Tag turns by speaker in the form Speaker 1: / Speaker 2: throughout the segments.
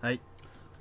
Speaker 1: はい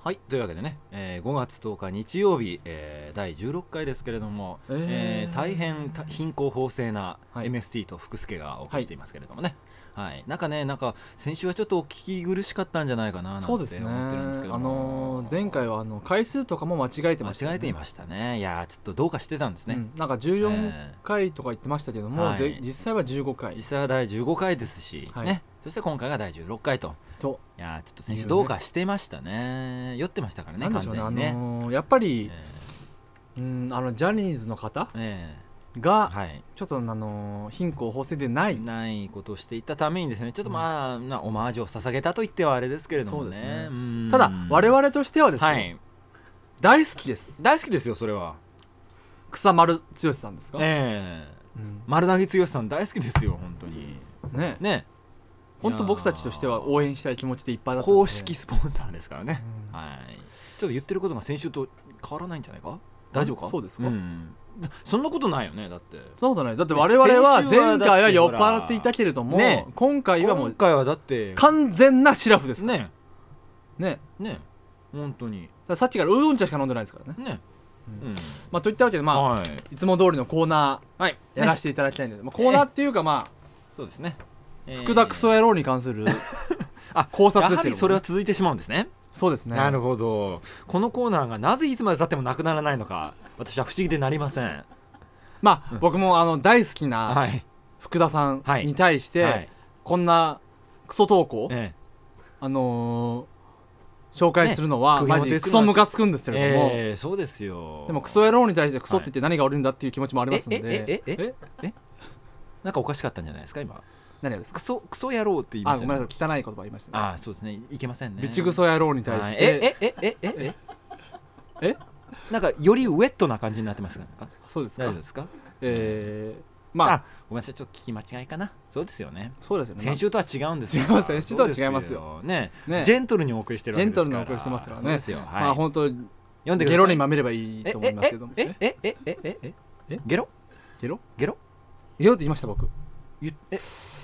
Speaker 2: はいというわけでね、えー5月10日日曜日、えー第16回ですけれども、
Speaker 1: えー
Speaker 2: えー大変た貧困法制な
Speaker 1: はい
Speaker 2: MST と福助がお送りしていますけれどもね、はいなんかねなんか先週はちょっとお聞き苦しかったんじゃないかななんて
Speaker 1: そ
Speaker 2: 思
Speaker 1: う
Speaker 2: っ
Speaker 1: ですね
Speaker 2: てるんですけど
Speaker 1: あ
Speaker 2: も
Speaker 1: のー前回はあの回数とかも間違えてました、
Speaker 2: 間違えていましたねいやーちょっとどうかしてたんですね、
Speaker 1: うん、なんか14
Speaker 2: えー
Speaker 1: 回とか言ってましたけども、
Speaker 2: はい
Speaker 1: ぜ実際は15回
Speaker 2: 実際は第15回ですし、
Speaker 1: はい
Speaker 2: ねそして今回が第16回と
Speaker 1: と、
Speaker 2: いやーちょっと先週どうかしてましたね酔ってましたからね
Speaker 1: なんで
Speaker 2: 完
Speaker 1: しょ
Speaker 2: 全
Speaker 1: うねあ
Speaker 2: にね、
Speaker 1: のーやっぱ
Speaker 2: え
Speaker 1: り
Speaker 2: ー、
Speaker 1: うんあのジャニーズの方
Speaker 2: えー
Speaker 1: が
Speaker 2: はい
Speaker 1: ちょっとあのー貧困法制でない
Speaker 2: ないことをしていたためにですねちょっとまあ、なオマージュを捧げたと言ってはあれですけれども
Speaker 1: そうです
Speaker 2: ね
Speaker 1: ね
Speaker 2: うん
Speaker 1: ただ我々としてはですね、
Speaker 2: はい
Speaker 1: 大好きです
Speaker 2: 大好きですよそれは
Speaker 1: 草丸剛さんですか、
Speaker 2: ええ
Speaker 1: うん
Speaker 2: 丸投げ剛さん大好きですよ本当に
Speaker 1: ね
Speaker 2: ね
Speaker 1: 本当僕たちとしては応援したい気持ちでいっぱいだったんで
Speaker 2: 公式スポンサーですからね、
Speaker 1: うん
Speaker 2: はいちょっと言ってることが先週と変わらないんじゃないか大丈夫か
Speaker 1: そうですか
Speaker 2: んそんなことないよねだって
Speaker 1: そんなことないだって我々は
Speaker 2: 先週
Speaker 1: 前
Speaker 2: はだって
Speaker 1: 回は酔っ払っていたけれども、
Speaker 2: ほらね
Speaker 1: 今回はも
Speaker 2: 今
Speaker 1: う
Speaker 2: 回はだって
Speaker 1: 完全なシラフです
Speaker 2: ね
Speaker 1: ね
Speaker 2: ね本当に
Speaker 1: だからさっきからウーロン茶しか飲んでないですからね、
Speaker 2: ね
Speaker 1: うん
Speaker 2: うん
Speaker 1: まあ、といったわけで、まあ
Speaker 2: はい
Speaker 1: い、つも通りのコーナ
Speaker 2: はい
Speaker 1: ーや
Speaker 2: ね
Speaker 1: らせていただきたいんで、まあ、コーナーっていうかまあ、
Speaker 2: そうですね
Speaker 1: 福田クソ
Speaker 2: え
Speaker 1: 野郎に関する
Speaker 2: あ
Speaker 1: 考
Speaker 2: ーや
Speaker 1: 察ですけど
Speaker 2: は
Speaker 1: もね
Speaker 2: りそれは続いてしまうんですね
Speaker 1: そうですね
Speaker 2: なるほどこのコーナーがなぜいつまでたってもなくならないのか私は不思議でなりません
Speaker 1: まあ、僕もあの大好きな
Speaker 2: はい
Speaker 1: 福田さん
Speaker 2: はい
Speaker 1: に対して、
Speaker 2: はい
Speaker 1: こんなクソ投稿、
Speaker 2: え
Speaker 1: あのー紹介するのは、
Speaker 2: ね
Speaker 1: マジでクソムカつくんですけ
Speaker 2: え
Speaker 1: れども、
Speaker 2: ええそうですよ
Speaker 1: でもクソ野郎に対してクソって言って何が悪いんだっていう気持ちもありますので、
Speaker 2: はいえええええなんかおかしかったんじゃないですか今
Speaker 1: 何がですか
Speaker 2: クソクソ野郎って言いま
Speaker 1: あ
Speaker 2: し
Speaker 1: ご
Speaker 2: た
Speaker 1: めん
Speaker 2: ね
Speaker 1: なさい汚い言葉言いましたね
Speaker 2: あそうですねいけませんね
Speaker 1: ビチクソ野郎に対
Speaker 2: は
Speaker 1: し
Speaker 2: い
Speaker 1: て、
Speaker 2: ええええええ
Speaker 1: え え
Speaker 2: なんかよりウェットな感じになってますがなんか
Speaker 1: そうです
Speaker 2: 大丈
Speaker 1: か
Speaker 2: 夫ですか
Speaker 1: えー、
Speaker 2: あ
Speaker 1: まあ
Speaker 2: ごめんなさいちょっと聞き間違いかなそうですよね
Speaker 1: そうですよね
Speaker 2: 先週とは違うんですよ
Speaker 1: 違う先週とは違いますよ
Speaker 2: そうでね
Speaker 1: ね
Speaker 2: ジェントルにお送りしてるわけですから
Speaker 1: ジェントルにお送りしてますからね
Speaker 2: そうですよ、はい
Speaker 1: まあ本当
Speaker 2: 読んでください
Speaker 1: ゲロにまみればいいと思いますけども
Speaker 2: え
Speaker 1: ね
Speaker 2: えええええええ
Speaker 1: え
Speaker 2: ゲロ
Speaker 1: ゲロ
Speaker 2: ゲロ
Speaker 1: ゲロって言いました僕
Speaker 2: ゆえ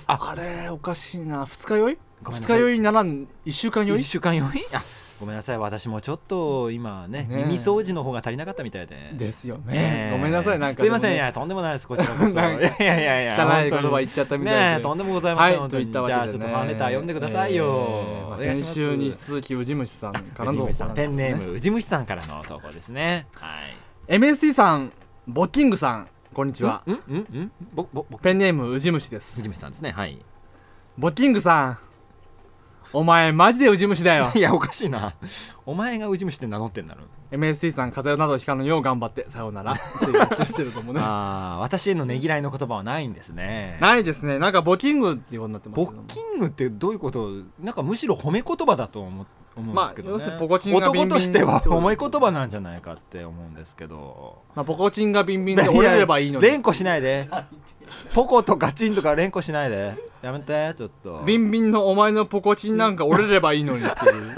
Speaker 1: あれおかしいな二日酔い
Speaker 2: ごめん
Speaker 1: 二日
Speaker 2: なさい
Speaker 1: 酔いならん一週間酔い
Speaker 2: 一週間酔いあごめんなさい私もちょっと今ね
Speaker 1: ねえ
Speaker 2: 耳掃除の方が足りなかったみたいで
Speaker 1: ですよ
Speaker 2: ね
Speaker 1: ね
Speaker 2: え
Speaker 1: ごめんなさいなんか
Speaker 2: す
Speaker 1: で
Speaker 2: い
Speaker 1: も
Speaker 2: ま
Speaker 1: ね
Speaker 2: せんいやとんでもないですこちらこそい
Speaker 1: なんか
Speaker 2: やいやいやいや
Speaker 1: 汚い言
Speaker 2: 本当
Speaker 1: 葉
Speaker 2: に
Speaker 1: 言っちゃったみたい
Speaker 2: ね
Speaker 1: で
Speaker 2: えとんでもございま
Speaker 1: は
Speaker 2: せん、
Speaker 1: い
Speaker 2: 本
Speaker 1: と
Speaker 2: 当
Speaker 1: いっ
Speaker 2: に
Speaker 1: たわ
Speaker 2: じ
Speaker 1: け
Speaker 2: ゃ
Speaker 1: で、
Speaker 2: あ
Speaker 1: ね、
Speaker 2: ちょっとファンレター読んでくださいよ、
Speaker 1: えーまあ
Speaker 2: お願いし
Speaker 1: 先
Speaker 2: ます
Speaker 1: 週に続き宇治虫さんから
Speaker 2: 藤
Speaker 1: の
Speaker 2: 虫さんペンネーム宇治虫さんからの投稿ですねはい
Speaker 1: MSC さんボッキングさんこんにちは
Speaker 2: んんんぼぼぼ
Speaker 1: ペンネーム宇治虫です
Speaker 2: 藤虫さんですねはい
Speaker 1: ボッキングさんお前マジで宇治虫だ よ
Speaker 2: いやおかしいなお前が宇治虫って名乗ってんだろ
Speaker 1: MST さん風邪などひかぬよう頑張ってさようならっていうことですけれどもね
Speaker 2: ああ私へのねぎらいの言葉はないんですね
Speaker 1: ないですねなんかボキングっていうことになってます
Speaker 2: ボ
Speaker 1: けども
Speaker 2: ッキングってどういうことなんかむしろ褒め言葉だと思う思うんですけど、ね
Speaker 1: まあ要するにポコチンがビンビン
Speaker 2: 男としては
Speaker 1: ってこと
Speaker 2: 褒
Speaker 1: で
Speaker 2: め
Speaker 1: すよね
Speaker 2: 言葉なんじゃないかって思うんですけど
Speaker 1: まあ、ポコチンがビンビンで折れればいいのに
Speaker 2: 連呼しないでポコとかチンとか連呼しないでやめてちょっと
Speaker 1: ビンビンのお前のポコチン なんか折れればいいのにっていう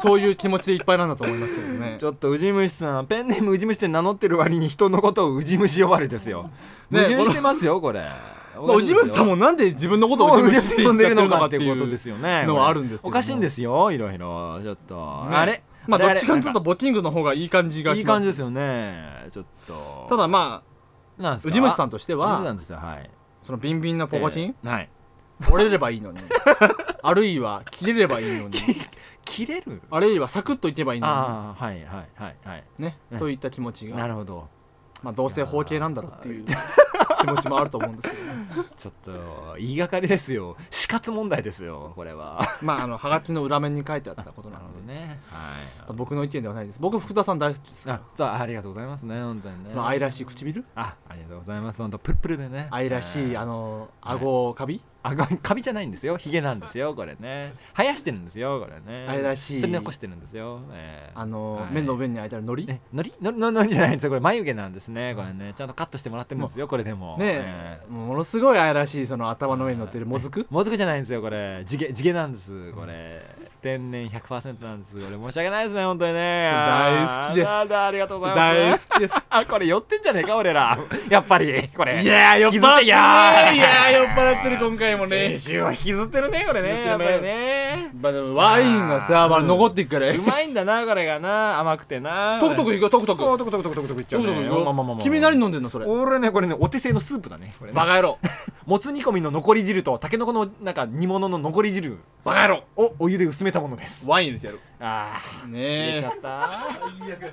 Speaker 1: そういう気持ちでいっぱいなんだと思いますけどね
Speaker 2: ちょっとウジ虫さんペンネームウジ虫って名乗ってる割に人のことをウジ虫呼ばれですよ
Speaker 1: ね
Speaker 2: 矛盾してますよこれ
Speaker 1: まあ、ウジ虫さんもなんで自分のことを
Speaker 2: ど
Speaker 1: ウ
Speaker 2: う
Speaker 1: ジ
Speaker 2: ウジ
Speaker 1: 虫って言
Speaker 2: 虫呼ん
Speaker 1: っちゃ
Speaker 2: で
Speaker 1: って
Speaker 2: る
Speaker 1: る
Speaker 2: の
Speaker 1: の
Speaker 2: か
Speaker 1: か
Speaker 2: っ
Speaker 1: ってて
Speaker 2: い
Speaker 1: いうう
Speaker 2: ことですよね
Speaker 1: のはあるんですけど
Speaker 2: お
Speaker 1: も
Speaker 2: かしいんですよいろいろちょっと、あれ
Speaker 1: まあどっ
Speaker 2: れ
Speaker 1: ちかにちょっとボキングの方がいい感じが
Speaker 2: い
Speaker 1: し
Speaker 2: い
Speaker 1: ま
Speaker 2: 感
Speaker 1: す
Speaker 2: じですよねちょっと
Speaker 1: ただま
Speaker 2: なんで
Speaker 1: あ
Speaker 2: す
Speaker 1: ウ
Speaker 2: か
Speaker 1: ジ虫さん
Speaker 2: と
Speaker 1: として
Speaker 2: な
Speaker 1: は
Speaker 2: んですよはい
Speaker 1: そのビンビンのポコチン、
Speaker 2: えーはい
Speaker 1: 折れればいいのに あるいは切れればいいのに
Speaker 2: 切れる
Speaker 1: あるいはサクッといけばいいの
Speaker 2: ああはいはいはいはい
Speaker 1: にね
Speaker 2: うん
Speaker 1: といった気持ち
Speaker 2: な
Speaker 1: が、
Speaker 2: るほど
Speaker 1: まあ、どうせ包茎なんだろうっていう気持ちもあると思うんですけど、 ね、
Speaker 2: ちょっと言いがかりですよ死活問題ですよこれは
Speaker 1: まああのはがきの裏面に書いてあったことな
Speaker 2: なる
Speaker 1: の
Speaker 2: ほ
Speaker 1: で
Speaker 2: ど、ね
Speaker 1: まあ
Speaker 2: はい
Speaker 1: 僕の意見ではないです僕福田さん大好きです
Speaker 2: あじゃあありがとうございますね本当にね
Speaker 1: その愛らしい唇
Speaker 2: あありがとうございます本当プルプルでね
Speaker 1: 愛らしい
Speaker 2: は
Speaker 1: あの顎カビ、
Speaker 2: あがカビじゃないんですよヒゲなんですよこれね 生やしてるんですよこれね
Speaker 1: 愛らしい
Speaker 2: それ残してるんですよ、えー
Speaker 1: あの、
Speaker 2: はい
Speaker 1: 目の上にあいたるのり、
Speaker 2: ね、のりのりのりのりじゃないんですよこれ眉毛なんですねこれねちゃんとカットしてもらってるんですよこれでも
Speaker 1: ね
Speaker 2: ええ
Speaker 1: ものすごい愛らしいその頭の上に乗ってるもずく
Speaker 2: もずくじゃないんですよこれ地毛地毛なんですこれ天然100%なんですこれ申し訳ないですね本当にね
Speaker 1: 大好きです
Speaker 2: あーだありがとうございま
Speaker 1: 大
Speaker 2: す
Speaker 1: 好きです
Speaker 2: あこ れ酔ってんじゃねえか俺らやっぱりこれ
Speaker 1: いやー酔っ払ってるね
Speaker 2: 引きずん
Speaker 1: いやー酔っ払ってる今回ねもうね
Speaker 2: 先週は引きずってるねこれね
Speaker 1: 引きず
Speaker 2: や
Speaker 1: っ
Speaker 2: ってぱ
Speaker 1: るね
Speaker 2: りね
Speaker 1: まあでもワインがさ
Speaker 2: うん
Speaker 1: まだ残ってっから
Speaker 2: うまいんだなこれがな甘くてな
Speaker 1: トクトクいくよトクトク
Speaker 2: こ
Speaker 1: ト
Speaker 2: うトクトクトクトクトクいっちゃ
Speaker 1: クト
Speaker 2: う
Speaker 1: ク
Speaker 2: ね
Speaker 1: いく
Speaker 2: まあまあまあま
Speaker 1: よ
Speaker 2: あ
Speaker 1: 君何飲んでんのそれ
Speaker 2: 俺ねこれねお手製のスープだねこれね
Speaker 1: バカ野郎
Speaker 2: もつ煮込みの残り汁とたけのこのなんか煮物の残り汁
Speaker 1: バカ野郎
Speaker 2: をお湯で薄めたものです
Speaker 1: ワイン入れてやる
Speaker 2: ああ入れ
Speaker 1: ね
Speaker 2: ちゃ
Speaker 1: え
Speaker 2: った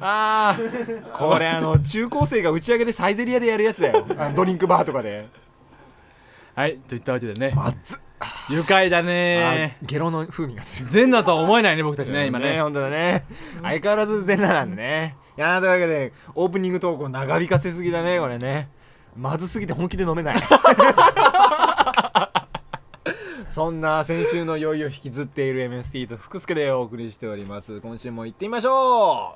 Speaker 2: あーこれあの中高生が打ち上げでサイゼリアでやるやつだよあのドリンクバーとかで
Speaker 1: はいといったわけでね
Speaker 2: あっつ
Speaker 1: 愉快だ
Speaker 2: あ
Speaker 1: ね
Speaker 2: ゲロの風味がする
Speaker 1: 全裸とは思えないね僕たちね今ね
Speaker 2: 本当だね相変わらず全裸なんでねいやーというわけでオープニング投稿長引かせすぎだねこれねまずすぎて本気で飲めない そんな先週の酔いを引きずっている MST と福助でお送りしております今週も行ってみましょ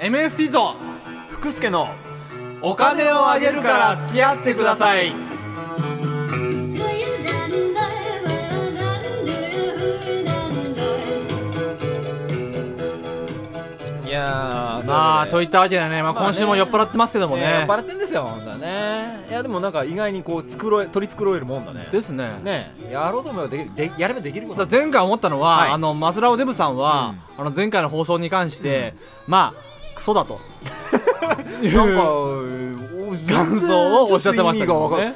Speaker 1: MST と
Speaker 2: う福助の
Speaker 1: お
Speaker 2: お金をあげるから付き合ってくださいいや
Speaker 1: まあといったわけだねまあ
Speaker 2: まあね
Speaker 1: 今週も酔っ払ってますけども
Speaker 2: ね酔
Speaker 1: ね
Speaker 2: っ払ってんですよほんとはねいやでもなんか意外にこう繕え取り繕えるもんだね
Speaker 1: ですね
Speaker 2: ねやろうと思えばできるでやればできるこ
Speaker 1: だ
Speaker 2: とだ
Speaker 1: 前回思ったのは、
Speaker 2: はい
Speaker 1: あのマスラオデブさんは、あの前回の放送に関して、まあクソだという
Speaker 2: なんか
Speaker 1: 感想をおっしゃってましたけどね
Speaker 2: ね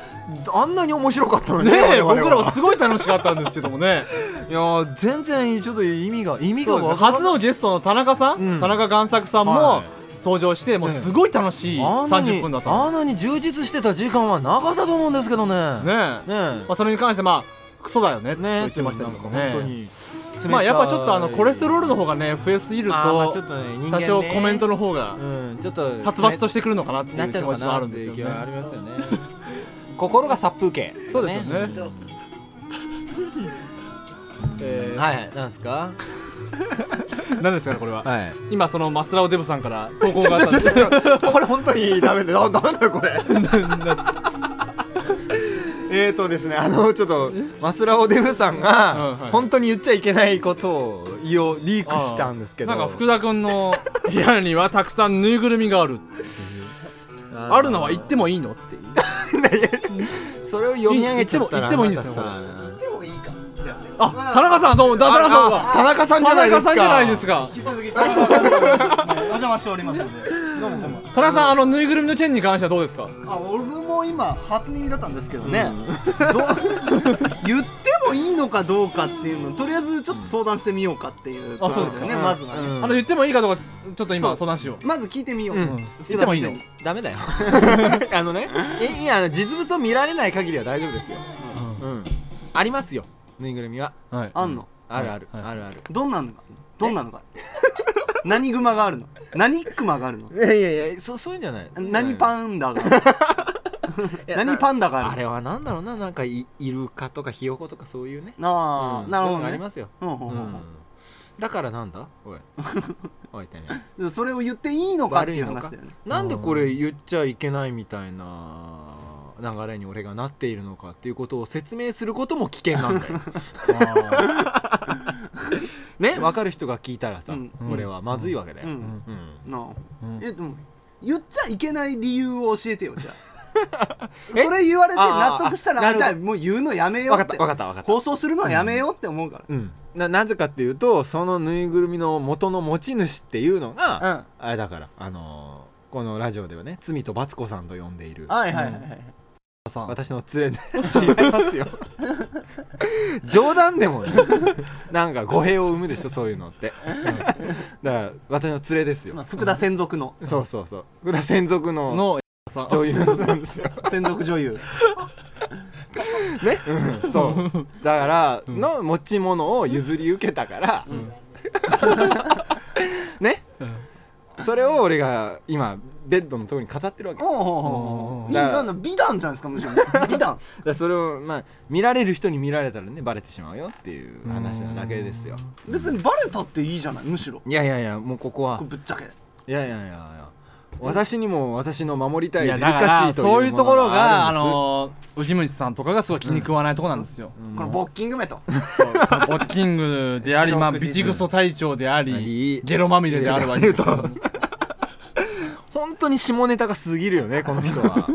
Speaker 2: あんなに面白かったのに
Speaker 1: ねえ
Speaker 2: 我
Speaker 1: 僕
Speaker 2: 々
Speaker 1: らはすごい楽しかったんですけどもね
Speaker 2: いやー全然ちょっと意味が意味が
Speaker 1: そう
Speaker 2: わ
Speaker 1: です
Speaker 2: か
Speaker 1: ね
Speaker 2: んない
Speaker 1: 初のゲストの田中さん、
Speaker 2: うん
Speaker 1: 田中贋作さん
Speaker 2: は
Speaker 1: も
Speaker 2: い
Speaker 1: 登場して、もう
Speaker 2: ねえ
Speaker 1: すごい楽しい
Speaker 2: あんなに
Speaker 1: 30分だった
Speaker 2: あ
Speaker 1: の
Speaker 2: んなに充実してた時間はなかったと思うんですけどね
Speaker 1: ねえ
Speaker 2: ねね
Speaker 1: まあ、それに関してまあクソだよねと
Speaker 2: ね
Speaker 1: 言ってましたけども
Speaker 2: なんか本
Speaker 1: ね
Speaker 2: 当に
Speaker 1: まあやっぱちょっとあのコレステロールの
Speaker 2: 方
Speaker 1: 方がね増えすぎると多
Speaker 2: 多
Speaker 1: 少コメントの方が
Speaker 2: うん、ちょっと
Speaker 1: 殺伐と
Speaker 2: し
Speaker 1: してくるのかなってい
Speaker 2: なっ
Speaker 1: う
Speaker 2: ち
Speaker 1: 気
Speaker 2: ゃうの
Speaker 1: 持
Speaker 2: か
Speaker 1: ちもあ
Speaker 2: な
Speaker 1: る
Speaker 2: っ
Speaker 1: ん
Speaker 2: て
Speaker 1: で
Speaker 2: い
Speaker 1: す
Speaker 2: う
Speaker 1: よ
Speaker 2: 気
Speaker 1: ね
Speaker 2: はありますよね。 心が殺風景。
Speaker 1: そうです よね
Speaker 2: うんはい、なんですか。
Speaker 1: 何ですかねこれは
Speaker 2: はい。
Speaker 1: 今そのマスラオデブさんから投稿があ
Speaker 2: ち
Speaker 1: っ
Speaker 2: ょち
Speaker 1: た
Speaker 2: ょ
Speaker 1: んで
Speaker 2: ちょちょこれ本当にダメ だよ。ダメだよこ れ。えーとですね、あのちょっとマスラオデブさんが
Speaker 1: うんはい
Speaker 2: 本当に言っちゃいけないことを言おうリークしたんですけど、
Speaker 1: なんか福田君の部屋にはたくさんぬいぐるみがある
Speaker 2: あー
Speaker 1: あるのは言ってもいいのっていう
Speaker 2: それを読み上げちゃったら
Speaker 1: 言っても言ってもいいんですよ
Speaker 2: あなたさ
Speaker 3: でもいいかも。
Speaker 1: あ田中さんどうもだ田中さん
Speaker 2: ああ田
Speaker 1: は
Speaker 2: 中さんじ
Speaker 1: 田
Speaker 2: ゃないで
Speaker 1: 中
Speaker 2: すか
Speaker 1: さんじゃないですか
Speaker 3: 引き続き、田中さんはいお邪魔しておりますので。どうもどうも。
Speaker 1: 田中さんあのぬいぐるみの件に関してはどうですか
Speaker 3: あ、俺も今初耳だったんですけどね。どう言ってもいいのかどうかっていうの、とりあえずちょっと相談してみようかっていうところですよね。
Speaker 2: うん
Speaker 3: まずは
Speaker 2: う
Speaker 3: ね。
Speaker 2: ん
Speaker 1: あの言ってもいいかどうかちょちょっと
Speaker 3: そ
Speaker 1: 今
Speaker 3: う
Speaker 1: 相談しよう
Speaker 3: まず聞いてみよう。
Speaker 2: うん
Speaker 1: 言ってもいいの
Speaker 3: 福田
Speaker 2: ダメだよあのねいいやあの実物を見られない限りは大丈夫ですようんありますよぬいぐるみは
Speaker 1: はい
Speaker 3: あんの。
Speaker 2: あるある、
Speaker 1: はい
Speaker 2: あるある
Speaker 3: どんなのが。どんなのが。何グマがあるの。何クマがあるの。
Speaker 2: いやいやいやそそういうんじゃない
Speaker 3: 何
Speaker 2: ン
Speaker 3: パンダがあるの。何パンダがあ
Speaker 2: あ
Speaker 3: る
Speaker 2: れはなんだろうななんかいイルカとかヒヨコとかそういうね
Speaker 3: の。あ
Speaker 2: う
Speaker 3: あ、
Speaker 2: ん
Speaker 3: なる
Speaker 2: そういう
Speaker 3: ほ
Speaker 2: の
Speaker 3: ど
Speaker 2: があり
Speaker 3: ね。
Speaker 2: ますよ、
Speaker 3: うんう
Speaker 2: うん
Speaker 3: んうんうん
Speaker 2: だからなんだおいおいてめえ
Speaker 3: でそれを言っていいのかっていう話だよね
Speaker 2: なんでこれ言っちゃいけないみたいな流れに俺がなっているのかっていうことを説明することも危険なんだよ ね分かる人が聞いたらさ、
Speaker 3: うん
Speaker 2: 俺はまずいわけだよ、
Speaker 3: う
Speaker 2: うん
Speaker 3: んなあ
Speaker 1: うん
Speaker 3: えでも言っちゃいけない理由を教えてよじゃ あそれ言われて納得した
Speaker 2: あーあ
Speaker 3: ら
Speaker 2: ー
Speaker 3: じゃあもう言うのやめ
Speaker 2: 分
Speaker 3: よう
Speaker 2: か
Speaker 3: っ
Speaker 2: った
Speaker 3: て
Speaker 2: 分かった分かった
Speaker 3: 放送するのはやめようって思うか
Speaker 2: うん、ななぜかっていうとそのぬいぐるみの元の持ち主っていうのが、
Speaker 3: ら
Speaker 2: あれだからあのーこのラジオではね「罪と罰子さん」と呼んでいる
Speaker 3: うんはいはいはいはい
Speaker 1: さん
Speaker 2: 私の連れで違います よ冗談でもねなんか語弊を生むでしょそういうのって、だから私の連れですよ、
Speaker 3: まあ福田専属の
Speaker 2: そうそうそう福田専属の
Speaker 1: のさん
Speaker 2: 女優なんですよ
Speaker 3: 専属女優
Speaker 2: ね、うんそうだからの持ち物を譲り受けたから、
Speaker 1: ん
Speaker 2: ね
Speaker 1: うん
Speaker 2: それを俺が今ベッドのところに飾ってるわけ
Speaker 3: おう おうおうおういい
Speaker 2: だから
Speaker 3: なんだ美談じゃないですかむし ろ美談
Speaker 2: だからそれをまあ見られる人に見られたらねバレてしまうよっていう話なだけですよ
Speaker 3: 別にバレたっていいじゃないむしろ
Speaker 2: いやいやいやもうここは
Speaker 3: これぶっちゃけ
Speaker 2: いやいやいやいや私にも私の守りたい
Speaker 1: い
Speaker 2: デ
Speaker 1: や
Speaker 2: リ
Speaker 1: だ
Speaker 2: カ
Speaker 1: か
Speaker 2: シ
Speaker 1: ら
Speaker 2: ー
Speaker 1: そ
Speaker 2: と
Speaker 1: うい
Speaker 2: いうう
Speaker 1: と
Speaker 2: も
Speaker 1: ころ
Speaker 2: の
Speaker 1: が
Speaker 2: が
Speaker 1: あ
Speaker 2: あるんです
Speaker 1: の宇治水さんとかがすごい気に食わないとこなんですよ、
Speaker 2: うん
Speaker 3: この勃起ングめと
Speaker 1: そうボッキングであり、まあ、
Speaker 3: 四六
Speaker 1: ビ
Speaker 3: 時
Speaker 1: チ
Speaker 3: 中
Speaker 1: グソ隊長であ
Speaker 2: あ
Speaker 1: り
Speaker 2: り
Speaker 1: ゲロまみれであるわけですよ
Speaker 2: 本当に下ネタが過ぎるよねこの人 は、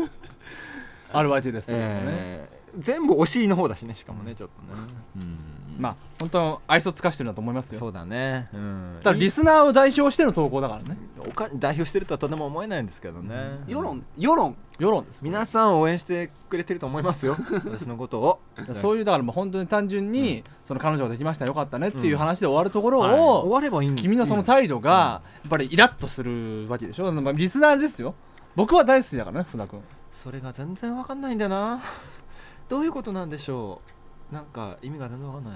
Speaker 1: あるわけですよね、
Speaker 2: えー全部お尻の方だしねしかもねちょっとね、うん
Speaker 1: まあ本当愛想つかしてるんだと思いますよ
Speaker 2: そうだね、うん、
Speaker 1: ただリスナーを代表しての投稿だからね
Speaker 2: おか代表してるとはとても思えないんですけどね
Speaker 3: 世論世論
Speaker 1: 世論です
Speaker 2: 皆さん応援してくれてると思いますよ私のこ とを
Speaker 1: そう
Speaker 2: いう
Speaker 1: いうだからもう本当に単純に、その彼女ができましたよかったねっていう
Speaker 2: うん
Speaker 1: 話で終わるところを、
Speaker 2: 終わればいいん
Speaker 1: 君のその態度がやっぱりイラッとするわけでしょ、まあリスナーですよ僕は大好きだからね船君
Speaker 2: それが全然わかんないんだよな どういうことなんでしょうなんか意味が全然わかんない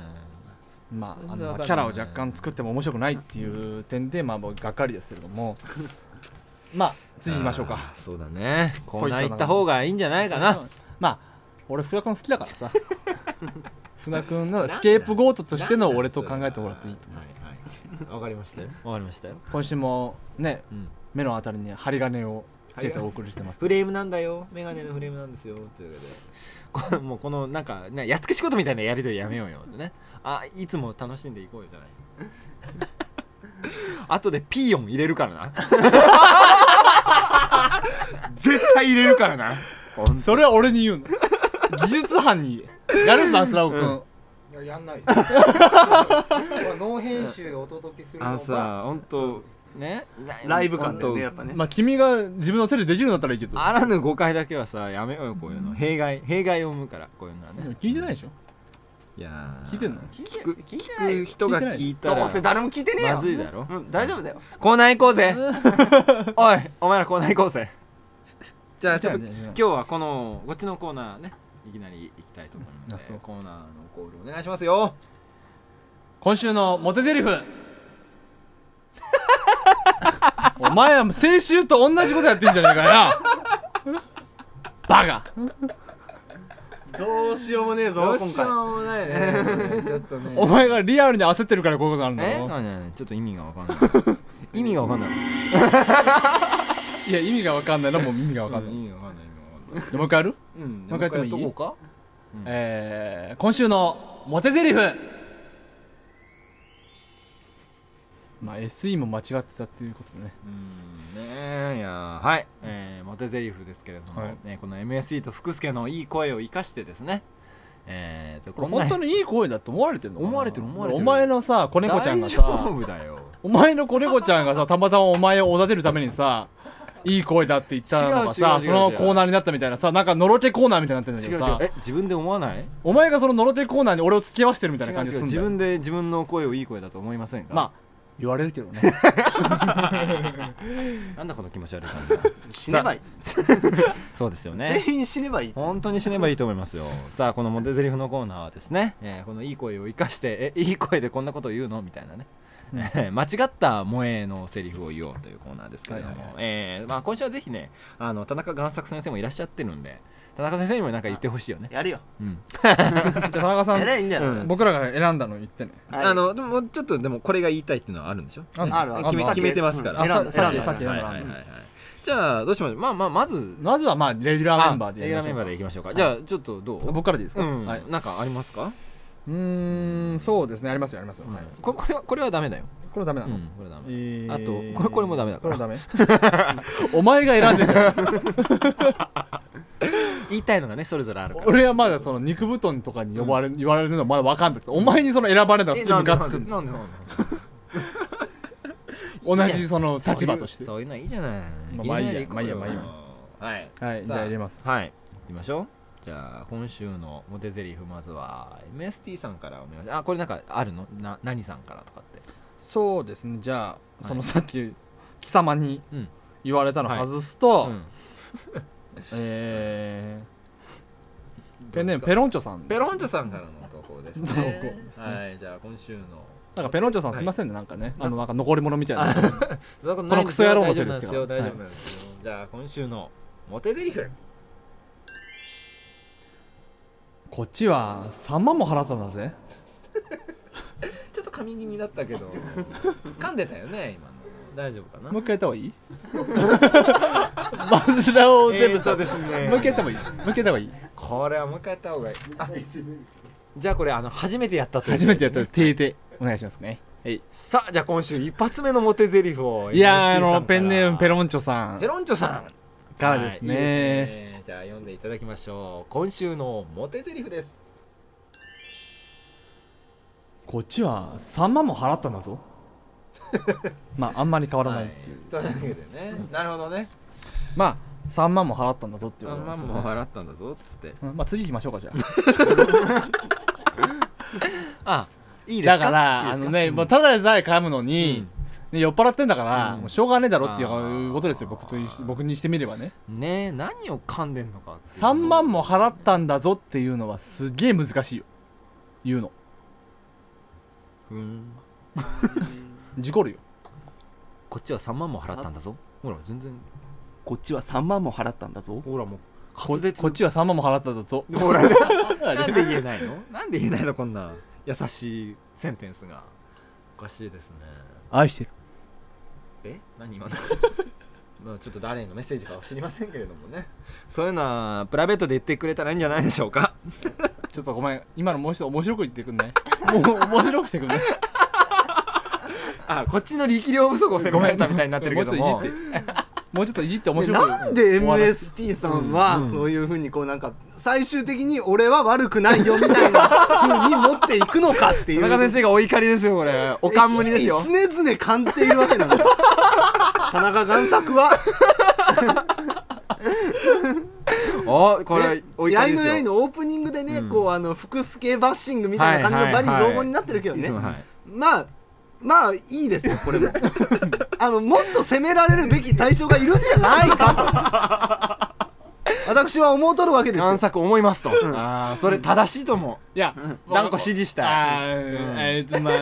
Speaker 1: まあ、あ
Speaker 2: 全然わ
Speaker 1: の
Speaker 2: かんない
Speaker 1: キャラを若干作っても面白くないっていう点で、まあ、もうがっかりですけれども まあ次行きましょうか
Speaker 2: あーそうだねコーナ
Speaker 1: ポイントなの
Speaker 2: ー行った方がいいんじゃないかな
Speaker 1: まあ俺船君好きだから さ船君のスケープゴートとしての俺と考えてもらっていいと思う
Speaker 2: はいはいわかりましたよわかりましたよ、
Speaker 1: 今週もね
Speaker 2: うん、
Speaker 1: 目のあたりに針金をつけてお送りしてます
Speaker 2: フレームなんだよメガネのフレームなんですよということでこもうこのなんかねやっつけ仕事みたいなやりとりやめようよねあいつも楽しんでいこうよじゃない 後でピーヨン入れるからな 絶対入れるからな
Speaker 1: それは俺に言うの技術班にやるんだスラオ君、
Speaker 4: いややんないです これノー編集でお届けする
Speaker 2: あの
Speaker 4: が
Speaker 2: さ本当ね
Speaker 3: ライブ感だよねやっぱね
Speaker 1: まあ君が自分の手でできるんだったらいいけど
Speaker 2: あらぬ誤解だけはさやめようよこういうの弊害弊害を生むからこういうのは
Speaker 1: でも
Speaker 2: ね
Speaker 1: 聞いてないでしょ
Speaker 2: いやー
Speaker 1: 聞いてんの
Speaker 3: 聞
Speaker 2: 聞く
Speaker 3: 聞いてない
Speaker 2: 聞く人が聞いた
Speaker 3: ど
Speaker 2: ら
Speaker 3: うせ誰も聞いてねえよ
Speaker 2: まずいだろ
Speaker 3: うん、大丈夫だよ
Speaker 2: コーナー行こうぜ おいお前らコーナー行こうぜじゃあちょっと
Speaker 1: ね
Speaker 2: 今日はこのこっちのコーナーねいきなり行きたいと思いま
Speaker 1: あ
Speaker 2: す
Speaker 1: そう
Speaker 2: コーナーのコールお願いしますよ
Speaker 1: 今週のモテゼリフ お前はもう先週と同じことやってんじゃねえかよなバカ
Speaker 3: どうしようもねえぞ今回
Speaker 2: うもないねちょっとね
Speaker 1: お前がリアルに焦ってるからこういうことになるん
Speaker 2: え
Speaker 1: だろ
Speaker 2: 何何ちょっと意味がわかんない意味がわかんない
Speaker 1: いや意味がわかんないのもう意味がわかん
Speaker 2: う
Speaker 1: なんい、
Speaker 2: 意味がわかんない意味がわかんない
Speaker 1: もう一回やる
Speaker 2: うん
Speaker 1: もう一回やってもいい
Speaker 2: もう一回やっとこ
Speaker 1: えー、今週のモテゼリフまあ SE も間違ってたっていうことね
Speaker 2: うかうんねえいやーはい、えー、モテゼリフですけれども、
Speaker 1: はい
Speaker 2: ね、この MSE と福助のいい声を生かしてですねえーと
Speaker 1: これ
Speaker 2: こんな
Speaker 1: 本当にいい声だって思われてるのかな
Speaker 2: 思われてる思われてる
Speaker 1: お前のさ子猫ちゃんが
Speaker 2: 大丈
Speaker 1: さ
Speaker 2: 夫だよ
Speaker 1: お前の子猫ちゃんがさたまたまお前をおだてるためにさいい声だって言ったのがさ
Speaker 2: 違う違う違う違
Speaker 1: そ
Speaker 2: う
Speaker 1: のコーナーになったみたいなさなんかのろけコーナーみたいになってるんだ
Speaker 2: 違
Speaker 1: け
Speaker 2: う
Speaker 1: ど
Speaker 2: 違
Speaker 1: さ
Speaker 2: うえ自分で思わない
Speaker 1: お前がそののろけコーナーに俺を付き合わせてるみたいな感じがするんだ
Speaker 2: 自
Speaker 1: よ
Speaker 2: 分で自分の声をいい声だと思いませんか
Speaker 1: まあ言われるけど ね
Speaker 2: あなんだこの気持ち悪い感じは
Speaker 3: 死ねばいい、
Speaker 2: そうですよ ね
Speaker 3: 全員死ねばいい
Speaker 2: 本当に死ねばいいと思いますよさあこのモテゼリフのコーナーはですね、えーこのいい声を生かしてえいい声でこんなことを言うのみたいなね、
Speaker 1: うん
Speaker 2: えー間違った萌えのセリフを言おうというコーナーですけれど
Speaker 1: は
Speaker 2: も、
Speaker 1: いはい
Speaker 2: えーまあ、今週はぜひねあの田中贋作先生もいらっしゃってるんで田中先生にも何か言ってほしいよね、
Speaker 3: やるよ
Speaker 2: うん、
Speaker 1: じゃあ田中さ
Speaker 3: や
Speaker 1: ん
Speaker 3: ればいいんだよ、
Speaker 2: うん
Speaker 1: 僕らが選んだの言ってね
Speaker 3: はい
Speaker 2: あのでもちょっとでもこれが言いたいっていうのはあるんでしょ
Speaker 1: あんの
Speaker 3: あるある
Speaker 2: 決め
Speaker 1: あんの
Speaker 2: 決めてますから、
Speaker 1: あ
Speaker 3: 選んだ
Speaker 1: ささっ
Speaker 3: 選
Speaker 1: き
Speaker 3: んだ
Speaker 1: さっき選ん
Speaker 2: はい
Speaker 1: だ
Speaker 2: はいはい
Speaker 1: の
Speaker 2: はいじゃあどうしましょうまあまあまず
Speaker 1: まずはまあレギュラーメンバーでや
Speaker 2: レギュ
Speaker 1: りましょ
Speaker 2: ラーメン
Speaker 1: う
Speaker 2: バーでいきましょうかじゃあちょっとどう
Speaker 1: 僕からでいいです
Speaker 2: う
Speaker 1: か、
Speaker 2: ん、
Speaker 1: はい、
Speaker 2: なんかありますか、
Speaker 1: うーんそうですねありますよありますよ、はい、
Speaker 2: ここれはこれはダメだよ、
Speaker 1: これダメなの、
Speaker 2: これはダ
Speaker 1: え
Speaker 2: メ
Speaker 1: ー
Speaker 2: あとこれこれもダメだから
Speaker 1: これダメ お前が選んでんじゃん
Speaker 2: 言いたいのがねそれぞれあるから
Speaker 1: 俺はまだその肉布団とかに呼ばれ、言われるのはまだ分かんなくてお前にその選ばれたらすぐムカつく
Speaker 2: なんでなんで
Speaker 1: 同じその立場として
Speaker 2: そういうのはいいじゃない
Speaker 1: まあ
Speaker 2: いいじゃない
Speaker 1: まあいいや
Speaker 2: これははい
Speaker 1: はいじゃあ入れます
Speaker 2: はい行きましょうじゃあ今週のモテゼリフまずは MST さんからお願いしますあこれなんかあるのな何さんからとかって
Speaker 1: そうですねじゃあそのさっき貴様に
Speaker 2: うん
Speaker 1: 言われたの外すと、
Speaker 2: うん
Speaker 1: えー、
Speaker 2: ど
Speaker 1: ペ
Speaker 2: う
Speaker 1: ン
Speaker 2: で
Speaker 1: ネ
Speaker 2: す
Speaker 1: ー
Speaker 2: か
Speaker 1: ムペロンチョさんです
Speaker 2: ペロンチョさんからの投稿ですね
Speaker 1: 投稿ですね
Speaker 2: はいじゃあ今週の
Speaker 1: なんかペロンチョさんすいませんね、なんかねあのなんか残り物みたいな
Speaker 2: こ
Speaker 1: のクソ野郎のせいですよ
Speaker 2: 大丈夫なんですよ、じゃあ今週のモテゼリフ
Speaker 1: こっちは3万も払ったんだぜ
Speaker 2: ちょっと髪気味だったけど噛んでたよね今の
Speaker 4: 大丈夫かな
Speaker 1: もう一回やった方がいいマズラを全部さ、
Speaker 3: そうですね
Speaker 1: もう一回やった方がいいもう一回やった方がいい
Speaker 4: これはもう一回やった方がいいあじゃあこれあの初めてやったという
Speaker 1: 初めてやったら手でお願いしますねはい
Speaker 4: さあじゃあ今週一発目のモテゼリフを
Speaker 1: いやーあの
Speaker 4: NST さんから
Speaker 1: ペンネームペロンチョさん
Speaker 4: ペロンチョさん
Speaker 1: からです
Speaker 4: はいいい
Speaker 1: ね
Speaker 4: ですねじゃあ読んでいただきましょう今週のモテゼリフです
Speaker 1: こっちは3万も払ったんだぞまああんまり変わらないっていう、
Speaker 4: はい、という わけでねなるほどね
Speaker 1: まあ3万も払ったんだぞっていうこと
Speaker 2: ま
Speaker 1: で
Speaker 2: あ
Speaker 1: すよね
Speaker 2: もう払ったんだぞっつって
Speaker 1: うんまあ次行きましょうかじゃあ
Speaker 4: あ
Speaker 2: いいです
Speaker 1: だ
Speaker 2: か
Speaker 1: から
Speaker 2: いい
Speaker 1: あ
Speaker 2: です
Speaker 1: の
Speaker 2: か
Speaker 1: ね、もうただでさえ絡むのに、ね酔っ払ってんだから、
Speaker 4: うん
Speaker 1: もうしょうがねえだろってい
Speaker 2: あー
Speaker 1: うことですよ僕とい僕にしてみればね
Speaker 2: ねえ何を噛んでんのかっていう
Speaker 1: 3万も払ったんだぞっていうのはすげえ難しいよ言うの
Speaker 2: ふーん
Speaker 1: 事故るよ
Speaker 2: こっちは3万も払ったんだぞほら全然
Speaker 3: こっちは3万も払ったんだぞ
Speaker 2: ほらもう
Speaker 1: ここっちは3万も払ったんだぞ
Speaker 2: ほら
Speaker 1: あれ
Speaker 2: なんで言えないのなんで言えないのこんな優しいセンテンスが
Speaker 4: おかしいですね
Speaker 1: 愛してる
Speaker 4: え何今のまあちょっと誰のメッセージかは知りませんけれどもね
Speaker 2: そういうのはプライベートで言ってくれたらいいんじゃないでしょうか
Speaker 1: ちょっとごめん今のもう一度面白く言ってくん ないもう面白くしてくんない
Speaker 2: あこっちの力量不足を責められたみたいになってるけども
Speaker 1: もうちょっといじってもうちょっといじって面白
Speaker 3: で
Speaker 1: く
Speaker 3: なんで
Speaker 1: 終わらせ
Speaker 3: MST さんはそういうふうにこうなんか最終的に俺は悪くないよみたいなふうに持っていくのかってい
Speaker 2: 田
Speaker 3: う
Speaker 2: 中先生がお怒りですよこれお冠ですよ
Speaker 3: 常々感じているわけ なのよ田中贋作は
Speaker 2: おこれお怒
Speaker 3: や
Speaker 2: り
Speaker 3: い
Speaker 2: で
Speaker 3: の
Speaker 2: すよ
Speaker 3: やいのオープニングでね、
Speaker 2: うん
Speaker 3: こうあの福助バッシングみたいな感じの
Speaker 2: は
Speaker 3: バ
Speaker 2: い
Speaker 3: リ
Speaker 2: はいはい
Speaker 3: 雑言になってるけどね、
Speaker 2: いつもはい
Speaker 3: まあまあいいですよこれもあのもっと責められるべき対象がいるんじゃないかと私は思うとるわけですよ
Speaker 2: 贋作思いますと、ああそれ正しいと思
Speaker 1: いや
Speaker 2: う断固支持したい
Speaker 1: あーえーとま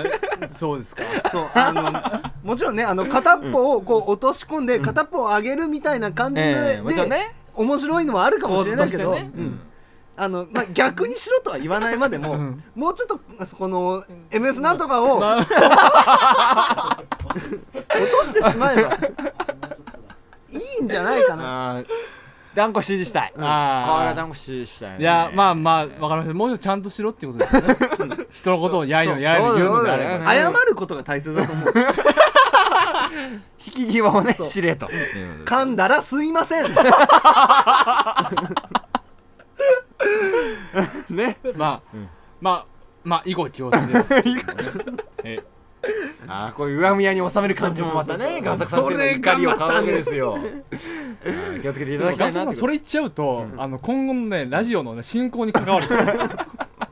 Speaker 1: あそうですか
Speaker 3: そうあのもちろんねあの片っぽをこう落とし込んで片っぽを上げるみたいな感じで,、
Speaker 2: ええもちろんね
Speaker 3: 面白いのはあるかもしれないけど、
Speaker 2: 構図としてね
Speaker 3: うん
Speaker 2: うん
Speaker 3: あのまあ、逆にしろとは言わないまでも、
Speaker 1: うん
Speaker 3: もうちょっとそこの MS なんとかを、
Speaker 1: まあ
Speaker 3: 落としてしまえばいいんじゃないかな
Speaker 2: あー断固支持したいこれ
Speaker 1: あー
Speaker 2: は断固支持したいね、
Speaker 1: いやまあまあわかりましたもうちょっとちゃんとしろっていうことですよね 人のことをやいのやいの言うのであれ
Speaker 2: そう
Speaker 1: ば
Speaker 3: 謝ることが大切だと思う
Speaker 2: 引き際をねしれということで
Speaker 3: 噛んだらすいません
Speaker 2: ね
Speaker 1: まあ
Speaker 2: うん
Speaker 1: まあまあ以後気をつけてえ
Speaker 2: ああこういう上むやに収める感じもまたね贋作さん
Speaker 3: そ
Speaker 2: の
Speaker 3: れ
Speaker 2: 怒りを買うわけですよああ気をつけていただき
Speaker 1: ガ
Speaker 2: たいなっ
Speaker 1: ンさん
Speaker 2: て
Speaker 1: それ言っちゃうと、あの今後のねラジオの、ね、進行に関わる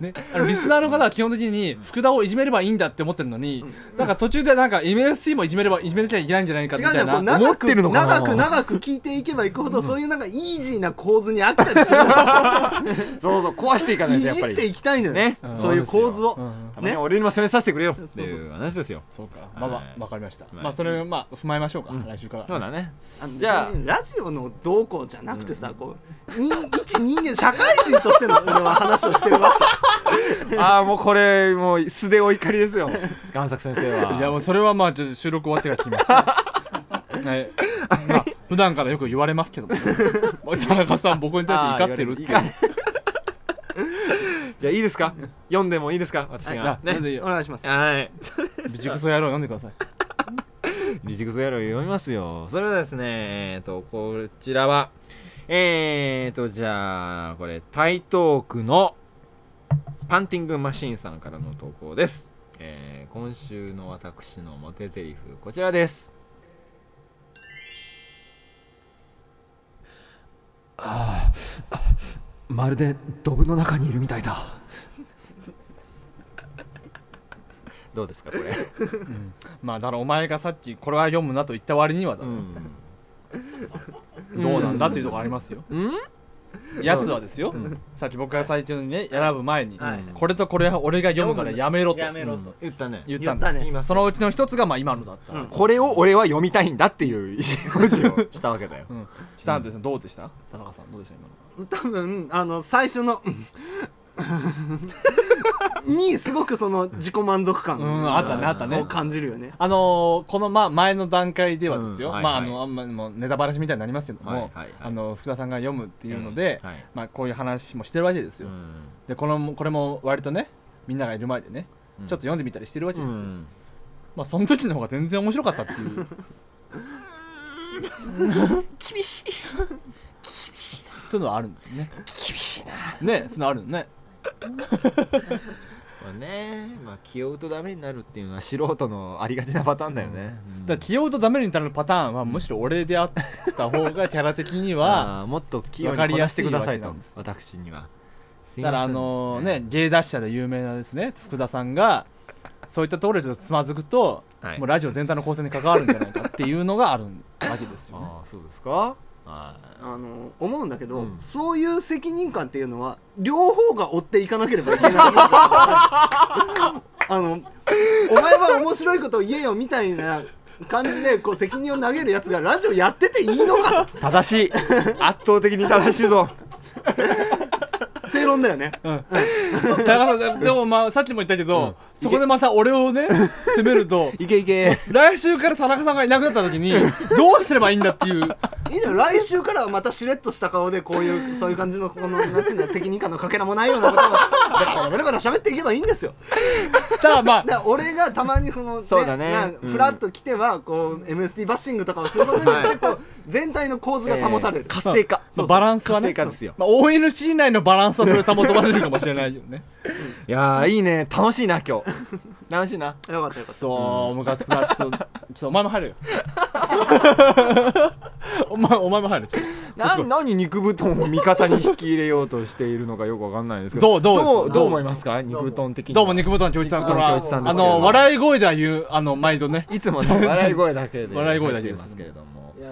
Speaker 1: ね、あのリスナーの方は基本的に福田をいじめればいいんだって思ってるのに、なんか途中でなんか MST もいじめればいじめなきゃいけないんじゃないか
Speaker 3: 違
Speaker 1: み
Speaker 3: う
Speaker 1: た
Speaker 3: じゃ
Speaker 1: い
Speaker 3: んこう
Speaker 1: な
Speaker 2: 思
Speaker 3: 長
Speaker 2: っ
Speaker 3: く
Speaker 2: てるのかな
Speaker 3: 長く長く聞いていけばいくほど、そういうなんかイージーな構図に飽きたりするか
Speaker 2: そうそう壊していからない
Speaker 3: い
Speaker 2: とやっ
Speaker 3: じ
Speaker 2: ぱり
Speaker 3: っていきたいのよ、
Speaker 2: ね
Speaker 3: そういう構図を、
Speaker 1: うん
Speaker 2: たまに
Speaker 3: ね
Speaker 2: 俺にも攻めさせてくれよっていう話ですよ
Speaker 1: そうかまあま
Speaker 2: はい
Speaker 1: あわかりました、
Speaker 2: はい
Speaker 1: まあそれをまあ踏まえましょうか、
Speaker 2: うん
Speaker 1: 来週から
Speaker 2: そうだね
Speaker 3: あの
Speaker 2: じゃあ
Speaker 3: 別にラジオの動向じゃなくてさ、こうに一人間社会人としての俺は話をしてるわけ
Speaker 2: ああもうこれもう素でお怒りです よ贋作先生はい
Speaker 1: やもうそれはまあちょっと収録終わってから聞きます。はい。まあ普段からよく言われますけども、田中さん僕に対して怒ってるっていう。
Speaker 2: あー言われ るじゃあいいですか読んでもいいですか私が
Speaker 1: あ
Speaker 2: ね
Speaker 1: なんでいい
Speaker 3: お
Speaker 1: よ
Speaker 3: 願いします
Speaker 2: はい
Speaker 1: ビジクソ野郎読んでください。
Speaker 2: ビジクソ野郎読みますよそれではですねえっとこちらはえーとじゃあこれ台東区のパンティングマシーンさんからの投稿です、えー今週の私のモテゼリフこちらです
Speaker 5: まるでドブの中にいるみたいだ
Speaker 2: どうですかこれ
Speaker 1: まあだからお前がさっきこれは読むなと言った割にはだ、どうなんだっていうところありますよ。
Speaker 2: うん
Speaker 1: やつはですよ、さっき僕が最初にね選ぶ前に、
Speaker 3: はい
Speaker 1: これとこれは俺が読むからやめろと
Speaker 3: やめろと、
Speaker 2: 言ったね
Speaker 1: 言ったんだ。
Speaker 3: 言ったね
Speaker 2: 今
Speaker 1: そのうちの一つがまあ今のだった。
Speaker 3: うん
Speaker 2: これを俺は読みたいんだっていう意思表示をしたわけだよ
Speaker 1: うんしたんですよどうでした田中さんどうでした今の
Speaker 3: 多分あの最初のうんにすごくその自己満足感
Speaker 1: うんあったねあったね
Speaker 3: を感じるよね
Speaker 1: あのーこの、まあ、前の段階ではですよ、
Speaker 2: うんはい
Speaker 1: まああ
Speaker 2: はい
Speaker 1: のあんまもうネタバラシみたいになりますけども、
Speaker 2: はいはいはい
Speaker 1: あの福田さんが読むっていうので、
Speaker 2: うんはい
Speaker 1: まあ、こういう話もしてるわけですよ、
Speaker 2: うん
Speaker 1: でこのこれも割とねみんながいる前でね、
Speaker 2: うん
Speaker 1: ちょっと読んでみたりしてるわけ
Speaker 2: う
Speaker 1: ですよ、
Speaker 2: ん
Speaker 1: まあその時の方が全然面白かったっていう
Speaker 2: 厳しい
Speaker 1: というのはあるんですよね厳しいなねそのあるのね
Speaker 2: まあねまあ気をうとダメになるっていうのは素人のありがちなパターンだよね、うん
Speaker 1: だから気負うとダメになるパターンはむしろ俺であった方がキャラ的には
Speaker 2: あーもっと気を
Speaker 1: わかり
Speaker 2: こ
Speaker 1: や
Speaker 2: な
Speaker 1: す
Speaker 2: し
Speaker 1: い
Speaker 2: てくださ
Speaker 1: わけ
Speaker 2: い
Speaker 1: な
Speaker 2: と
Speaker 1: んですよ
Speaker 2: 私にはすい
Speaker 1: だか
Speaker 2: ません
Speaker 1: らあのね芸達者で有名なですね福田さんがそういったところでちょっとつまずくと、
Speaker 2: はい
Speaker 1: もうラジオ全体の構成に関わるんじゃないかっていうのがあるわけですよね
Speaker 2: ああそうですかは
Speaker 3: あの思うんだけど、
Speaker 2: うん
Speaker 3: そういう責任感っていうのは両方が追っていかなければいけないあのお前は面白いことを言えよみたいな感じでこう責任を投げるやつがラジオやってていいのか
Speaker 2: い 正しい圧倒的に正しいぞ
Speaker 3: 正論だよね
Speaker 1: だからでもまあさっきも言ったけど、そこでまた俺をね責めると
Speaker 2: いけいけ
Speaker 1: 来週から田中さんがいなくなった時にどうすればいいんだっていう
Speaker 3: いいじゃん来週からはまたしれっとした顔でこういうそういう感じのこのなんていうんだ責任感のかけらもないようなことをベラベラベラベラ喋っていけばいいんですよ
Speaker 1: ただまあ
Speaker 3: だから俺がたまにこの、ね
Speaker 2: そうだね
Speaker 3: なんか
Speaker 2: うん
Speaker 3: フラッと来てはこう MSD バッシングとかをすることによってこう全体の構図が保たれる、
Speaker 2: 活性化
Speaker 1: まあバランスはね
Speaker 2: 活性化ですよ
Speaker 1: まあ、ONC 内のバランスはそれ保たれるかもしれないよね
Speaker 2: いやーいいね楽しいな今日 楽しいな
Speaker 3: よかったよかった
Speaker 1: そうムカつくなちょっとちょっとお前も入るよ お前お前も入るちょっと
Speaker 2: な何肉布団を味方に引き入れようとしているのかよくわかんないですけ
Speaker 1: どう
Speaker 2: ど
Speaker 1: どうです
Speaker 2: どう
Speaker 1: ど
Speaker 2: ど
Speaker 1: う
Speaker 2: う思いますか肉布団的には
Speaker 1: どうも肉本の教一さんこれは
Speaker 2: 肉布団の教一さんです
Speaker 1: あ
Speaker 2: けれど
Speaker 1: の
Speaker 2: も
Speaker 1: 笑い声では言うあの毎度ね
Speaker 2: いつもね笑い声だけで
Speaker 1: 笑い声だけです
Speaker 2: やってますけれども
Speaker 4: いや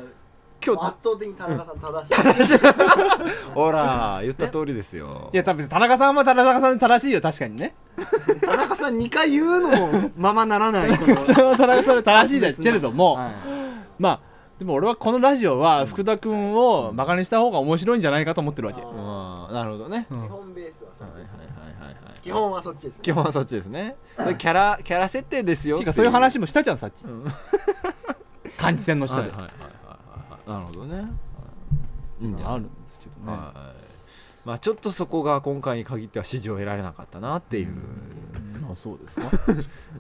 Speaker 2: 今
Speaker 4: 圧倒的に田中さん正しい
Speaker 2: ほら言った通りですよ
Speaker 1: いや多分田中さんは田中さんで正しいよ確かに ね
Speaker 3: 田中さん2回言うのもままならないこ
Speaker 1: そ
Speaker 3: と
Speaker 1: れは田中さんで正しいですけれども、
Speaker 2: は
Speaker 1: まあでも俺はこのラジオは福田君を馬鹿にした方が面白いんじゃないかと思ってるわけ、
Speaker 2: いまあなるほどね
Speaker 1: うん
Speaker 4: 基本ベースはそ
Speaker 2: はい
Speaker 4: っち
Speaker 2: はい
Speaker 4: ですね
Speaker 2: はいはいはい
Speaker 4: 基本はそっちですね
Speaker 2: 基本はそっちですねそれキャラキャラ設定ですよ
Speaker 1: て
Speaker 2: っ
Speaker 1: い
Speaker 2: て
Speaker 1: うかそういう話もしたじゃんさっき、
Speaker 2: ん
Speaker 1: 換気扇の下
Speaker 2: はい
Speaker 1: で、
Speaker 2: はいはいはいはいなるほどねいいんじゃな
Speaker 1: あ
Speaker 2: い
Speaker 1: るんですけどね、
Speaker 2: はいまあちょっとそこが今回に限っては支持を得られなかったなっていう
Speaker 1: まあそうですか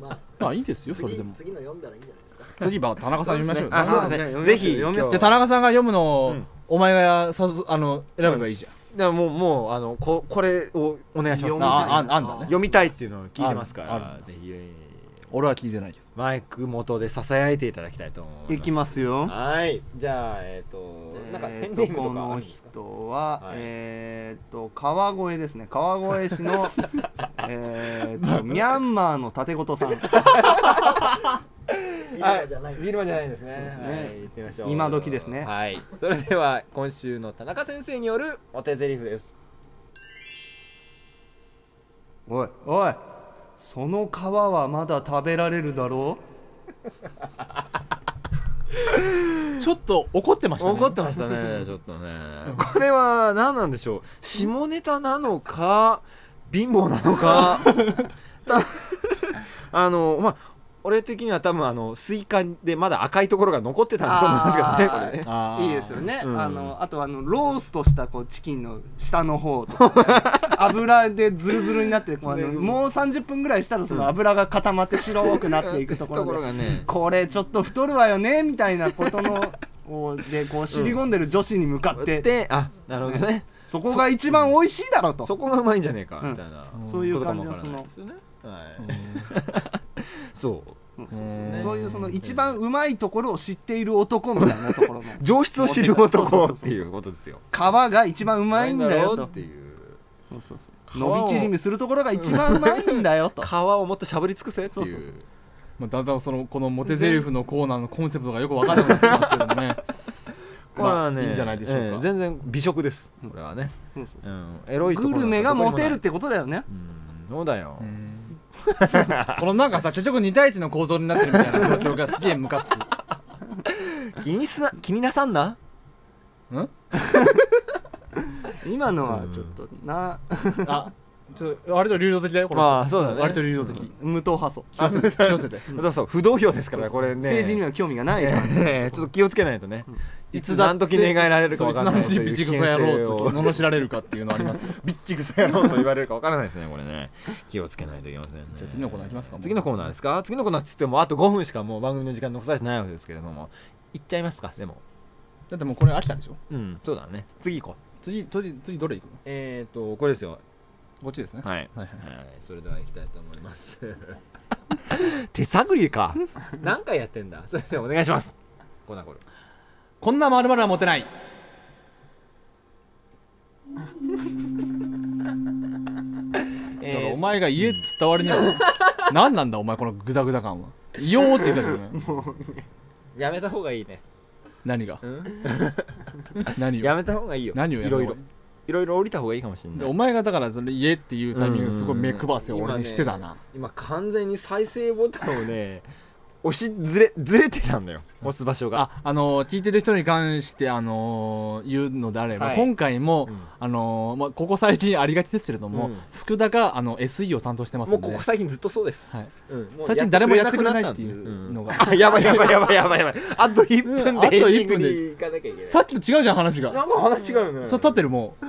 Speaker 4: まあ
Speaker 1: まあいいですよそれ
Speaker 4: 次
Speaker 1: でも
Speaker 4: 次の読んだらいいんじゃないですか
Speaker 1: 次は田中さん読みましょうよ
Speaker 2: あそう
Speaker 3: じゃあ
Speaker 2: です
Speaker 3: 読みましょ
Speaker 2: ね
Speaker 3: う
Speaker 2: ぜひ
Speaker 3: 読み
Speaker 2: 今
Speaker 3: ま
Speaker 2: 日
Speaker 1: で田中さんが読むのを、
Speaker 2: うん
Speaker 1: お前がさぞあの選べばいいじゃん、
Speaker 2: だからもうもうあのここれをお願いします
Speaker 1: あ
Speaker 3: 読みたい
Speaker 1: あああんだね
Speaker 2: 読みたいっていうのを聞いてますか
Speaker 1: あ
Speaker 2: らぜひ
Speaker 1: 俺は聞いてないけど
Speaker 2: マイク元でささやいていただきたいと思います
Speaker 3: いきますよ
Speaker 2: はいじゃあえっ、となんかペ
Speaker 3: え
Speaker 2: ンネ
Speaker 3: ーと
Speaker 2: ーム
Speaker 3: こと
Speaker 2: かある
Speaker 3: の
Speaker 2: んですか
Speaker 3: 人は、
Speaker 2: はい
Speaker 3: えー、と川越ですね川越 市のえーとミャンマーの盾 事さん
Speaker 4: ビバじゃない
Speaker 2: ビルマじゃないですね
Speaker 3: すね
Speaker 2: はい行ってみましょう
Speaker 3: 今時ですね
Speaker 2: はいそれでは今週の田中先生によるお手台詞です
Speaker 3: おいおいその皮はまだ食べられるだろ
Speaker 1: ちょっと怒ってましたね
Speaker 2: 怒ってました ねちょっとねこれは何なんでしょう下ネタなのか貧乏なの かたあのまあ俺的には多分あのスイカでまだ赤いところが残ってたんだと思うん ですけどねこれね
Speaker 1: あー
Speaker 3: いいですよね、
Speaker 2: うん
Speaker 3: あのあとあのローストしたこうチキンの下の方とか 油でズルズルになってこうあのもう30分ぐらいしたらその油が固まって白くなっていくとこ ろ
Speaker 2: とこ
Speaker 3: で
Speaker 2: ろがね
Speaker 3: これちょっと太るわよねみたいなことのをでこう尻込んでる女子に向かって、
Speaker 2: であなるほどね
Speaker 3: そこが一番美味しいだろうと
Speaker 2: そこがうまいんじゃねえか
Speaker 3: うん
Speaker 2: みたいな
Speaker 1: うん
Speaker 3: そういう感じの
Speaker 2: こと
Speaker 3: そ
Speaker 2: かもわからない
Speaker 3: の
Speaker 2: ですよねはいそう
Speaker 3: うん
Speaker 1: そうですね
Speaker 3: そういうその一番うまいところを知っている男みたいなところの
Speaker 2: 上質を知る男っていうことですよ
Speaker 3: 皮が一番うまいんだ
Speaker 2: う
Speaker 3: よ
Speaker 2: まいんだろう
Speaker 3: と
Speaker 2: っていう
Speaker 3: そうそうそう
Speaker 2: 皮を
Speaker 3: 伸び縮みするところが一番うまいんだよと
Speaker 2: 皮をもっとしゃぶり尽くせって
Speaker 3: そう
Speaker 2: い
Speaker 3: そうそうう
Speaker 1: まあ、だんだんそのこのモテゼリフのコーナーのコンセプトがよくわからなくなってきますけども ねまあいいんじゃないでしょうか、
Speaker 2: ええ全然美食ですこれはね、
Speaker 3: そうそう
Speaker 2: う
Speaker 3: そ
Speaker 2: ん、エロ
Speaker 3: う
Speaker 2: いとこ
Speaker 3: グ
Speaker 2: ろ
Speaker 3: ルメがモテるってことだよね
Speaker 2: うんそうだよ、
Speaker 1: うんこのなんかさ結局2対1の構造になってるみたいな状況がすげえムカつく
Speaker 2: 気にすな気になさんな
Speaker 3: 今のはちょっとな、
Speaker 1: あちょっと割と流動的だよこの人
Speaker 2: まあそうだね
Speaker 1: 割と流動的
Speaker 3: 無党派層、
Speaker 1: 気をつけて気をつ けて
Speaker 2: そうそう不動票ですからこれね
Speaker 3: 政治には興味がないから
Speaker 2: ええ ちょっと気をつけないとね、
Speaker 1: ん
Speaker 2: いつ何時寝返られるか
Speaker 1: そう
Speaker 2: 分
Speaker 1: いつ
Speaker 2: かん
Speaker 1: の
Speaker 2: ない
Speaker 1: 時ビチクソ野郎と
Speaker 2: と
Speaker 1: 罵られるかっていうのありますよ
Speaker 2: ビッチクソ野郎と言われるか分からないですねこれね 気をつけないといけませんね
Speaker 1: じゃあ次のコーナーいきますか
Speaker 2: 次のコーナーですか次のコーナーっつってもあと5分しかもう番組の時間残されてないわけですけれども行っちゃいますかでも
Speaker 1: だってもうこれ飽きたでしょ
Speaker 2: うんそうだね次行こう
Speaker 1: 次次次どれ行くの
Speaker 2: えっ、ー、とこれですよ
Speaker 1: こっちですね
Speaker 2: はい
Speaker 1: はいはい
Speaker 4: はい、それでは行きたいと思い ます。
Speaker 2: 手探りか
Speaker 4: 何回やってんだそれではお
Speaker 2: お
Speaker 4: 願い
Speaker 2: 願いしますコーナーこれ
Speaker 1: こんな丸々は持てないだからお前が家っつった割には何なんだお前このグダグダ感は「いよう」って言ったけどね
Speaker 4: やめた方がいいね。
Speaker 1: 何が何
Speaker 2: や
Speaker 1: を
Speaker 2: めた方がいいよ
Speaker 1: 何をや
Speaker 2: い
Speaker 1: る
Speaker 2: ろ
Speaker 1: の
Speaker 2: いろいろいろ降りた方がいいかもしれない
Speaker 1: でお前がだからそれ家っていうタイミングすごい目配せを俺にしてたな、
Speaker 4: 今完全に再生ボタン をね、
Speaker 2: 押しずれずれてたんだよ押す場所が
Speaker 1: ああのー聞いてる人に関して、あのー言うのであれば、
Speaker 4: はい
Speaker 1: 今回も、
Speaker 2: うん
Speaker 1: あのーまあ、ここ最近ありがちですけれども、
Speaker 2: うん
Speaker 1: 福田があの SE を担当してますの
Speaker 4: もう
Speaker 1: で
Speaker 4: ここ最近ずっとそうです。
Speaker 1: はい、
Speaker 4: うん、もう
Speaker 1: 最近誰もやってくれない
Speaker 4: や
Speaker 1: ってい
Speaker 4: くれなくなったんで
Speaker 1: うのが、
Speaker 2: あやばいやばいやばいやばいやばいあと1分
Speaker 1: うんあと
Speaker 2: でエンディ
Speaker 1: 一
Speaker 2: ング
Speaker 1: 分で
Speaker 2: に
Speaker 4: 行かなきゃいけない。
Speaker 1: さっきと違うじゃん話が、
Speaker 4: なんか話違うよね。
Speaker 1: そう立ってるもう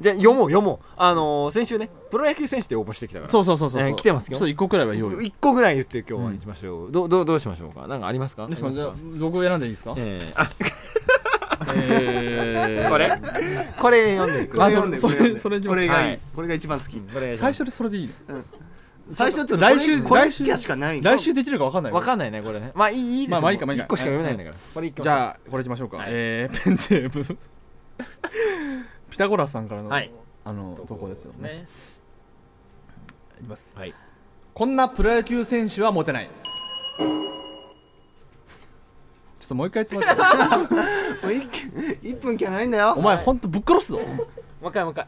Speaker 2: じゃあ読もう読もうあのー先週ねプロ野球選手で応募してきたから
Speaker 1: そうそうそうそう、
Speaker 2: えー来てますよ
Speaker 1: ちょっと一個くらいは用意
Speaker 2: 1個ぐらい言って今日はにしましょう、どうどうどうしましょうかなんかありますか
Speaker 1: どうしますじゃ
Speaker 2: あ
Speaker 1: あ
Speaker 2: りますか
Speaker 1: 僕選んでいいですか
Speaker 2: えーあ
Speaker 1: えー
Speaker 2: これこれ読んでいく
Speaker 3: これ読んで
Speaker 1: そ
Speaker 3: こ
Speaker 1: れ
Speaker 3: れ読んで
Speaker 1: それそれ
Speaker 3: これがいい、
Speaker 2: はい
Speaker 3: これが一番好き
Speaker 2: これ
Speaker 1: 最初でそれでいい
Speaker 3: 最初って
Speaker 1: 来週
Speaker 3: これ
Speaker 1: 来週
Speaker 3: これだけしかないんですよ
Speaker 1: 来週できるか分かんない
Speaker 2: わかんないねこれねまあいいいいです
Speaker 1: まあまあいいかまあいいか
Speaker 2: 1個しか読めないんだから、これ行き
Speaker 1: じ
Speaker 2: ましょう
Speaker 1: ゃあこれいきましょうか、えーペンネームピタゴラスさんからの、
Speaker 4: はい
Speaker 1: あの投稿ですよね
Speaker 4: ね。
Speaker 1: いきます
Speaker 4: はい。
Speaker 1: こんなプロ野球選手はモテないちょっともう一回言ってもらって
Speaker 3: もう一気一分きゃないんだよ
Speaker 1: お前ほんとぶっ殺すぞ
Speaker 4: もう一回もう一回。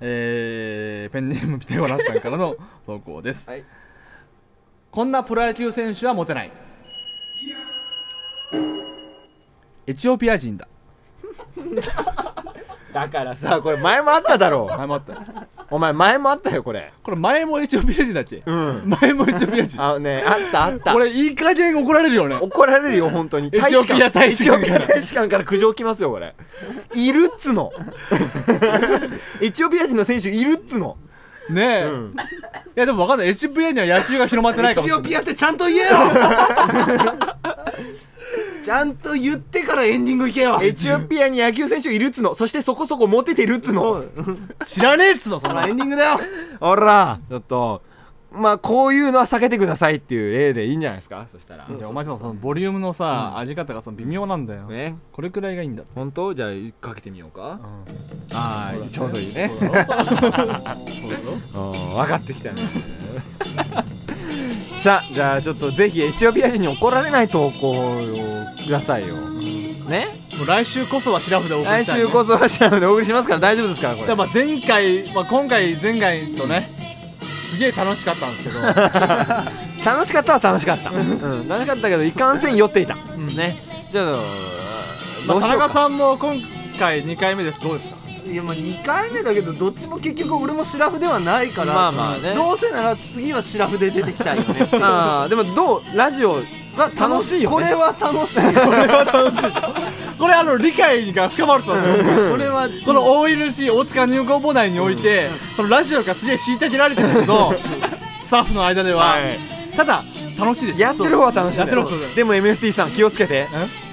Speaker 1: えーペンネームピタゴラスさんからの投稿です、
Speaker 4: はい
Speaker 1: こんなプロ野球選手はモテないエチオピア人だ
Speaker 4: だからさ、
Speaker 2: さあこれ前もあっただろ
Speaker 1: 前もあった
Speaker 2: うお前前もあったよこれ
Speaker 1: これ前もエチオピア人だっけ、
Speaker 2: うん
Speaker 1: 前もエチオピア人
Speaker 2: あのねあったあった
Speaker 1: これいい加減怒られるよね
Speaker 2: 怒られるよ本当に
Speaker 1: エチオピア大使館
Speaker 2: エチオピア大使館から苦情来ますよこれいるっつの エチオピア人の選手いるっつの
Speaker 1: ねえ、いやでも分かんないエチオピアには野球が広まってない
Speaker 3: エ
Speaker 1: かもし
Speaker 3: チ
Speaker 1: れ
Speaker 3: オ
Speaker 1: ない
Speaker 3: ピアってちゃんと言えよ ちゃんと言ってからエンディングいけよ
Speaker 2: エチオピアに野球選手いるっつのそしてそこそこモテてるっつの
Speaker 1: 知らねえっつうのそん
Speaker 3: ほ
Speaker 1: な
Speaker 3: らエンディングだよ
Speaker 2: あらちょっとまあこういうのは避けてくださいっていう例でいいんじゃないですかそしたら
Speaker 1: いやお前さそのボリュームのさ、あり方がその微妙なんだよ、
Speaker 2: ね
Speaker 1: これくらいがいいんだ、
Speaker 2: 本当じゃあかけてみようか
Speaker 1: うん
Speaker 2: ああちょうどいいね
Speaker 1: そうだろそうだろ
Speaker 2: うん分かってきたね さあじゃあちょっとぜひエチオピア人に怒られない投稿をくださいよ、ね
Speaker 1: もう来週こそはシラフでお送り
Speaker 2: 来
Speaker 1: したい、ね、
Speaker 2: 週こそはシャムでお送りしますから大丈夫ですからこ
Speaker 1: で
Speaker 2: れ
Speaker 1: まあ前回、まあ、今回前回とねすげえ楽しかったん ですけどは
Speaker 2: 楽しかったは楽しかった、うん、楽しかったけどいかんせん酔っていた、
Speaker 1: ん
Speaker 2: ねじゃあ
Speaker 1: ま
Speaker 2: ど
Speaker 1: あ
Speaker 2: う
Speaker 1: 田
Speaker 2: しよう
Speaker 1: 中
Speaker 2: か、
Speaker 1: さんも今回2回目ですどうですか
Speaker 3: いやまあ2回目だけどどっちも結局俺もシラフではないから
Speaker 2: まあまあね
Speaker 3: どうせなら次はシラフで出てきたいよね
Speaker 2: あーでもどうラジオは楽しいよ、ね、
Speaker 3: これは楽しいよ
Speaker 1: これは楽しいでしょこれあの理解が深まると思うんですよ
Speaker 3: これは
Speaker 1: この大犬市大塚入校内において、そのラジオがすげえ虐げられてるけ どスタッフの間では、
Speaker 2: はい
Speaker 1: ただ楽しいです
Speaker 2: やってる方は楽しい
Speaker 1: や
Speaker 2: ん
Speaker 1: って
Speaker 2: だ
Speaker 1: る
Speaker 2: よ
Speaker 1: 方は
Speaker 2: でも MST さん気をつけて
Speaker 1: ん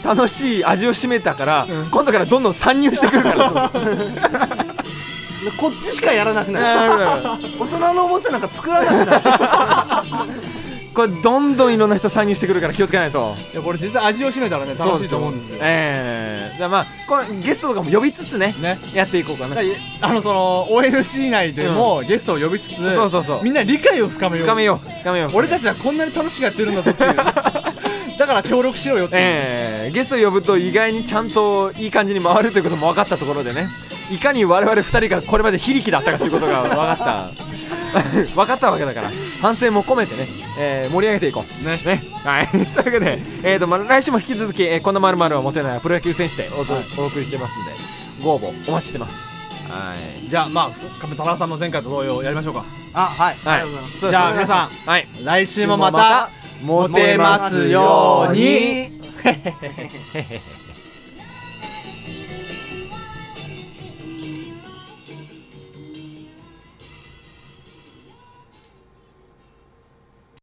Speaker 2: 楽しい味を占めたから、
Speaker 1: うん
Speaker 2: 今度からどんどん参入してくる から
Speaker 3: こっちしかやらなくなる大人のおもちゃなんか作らなくなる
Speaker 2: これどんどんいろんな人参入してくるから気をつけないと
Speaker 1: いやこれ実は味を占めたらね楽しいと思うんですよ
Speaker 2: ええじゃあまあこれゲストとかも呼びつつね
Speaker 1: ね
Speaker 2: やっていこうか
Speaker 1: だ
Speaker 2: な
Speaker 1: からあのその OLC 内でもゲストを呼びつつ、
Speaker 2: そうそうそう
Speaker 1: みんな理解を深めよう
Speaker 2: 深めよう深めよう
Speaker 1: 俺たちはこんなに楽しくやってるんだぞっていうだから協力しようよっていう、
Speaker 2: ええゲスト呼ぶと意外にちゃんといい感じに回るということも分かったところでねいかに我々2人がこれまで非力だったかということが分かった分かったわけ だから反省も込めてね、えー盛り上げていこう
Speaker 1: ね
Speaker 2: ねはい というわけで、えーとま、来週も引き続き、えーこのまるは持てないプロ野球選手でお,、お送りしてますんでご応募お待ちしてますはい
Speaker 1: じゃあまあ亀太郎さんの前回と同様やりましょうか
Speaker 3: あはい、ありがとうございます
Speaker 2: じ
Speaker 1: じゃあ皆さ
Speaker 2: んはい
Speaker 1: ん来週もまた
Speaker 2: モテますように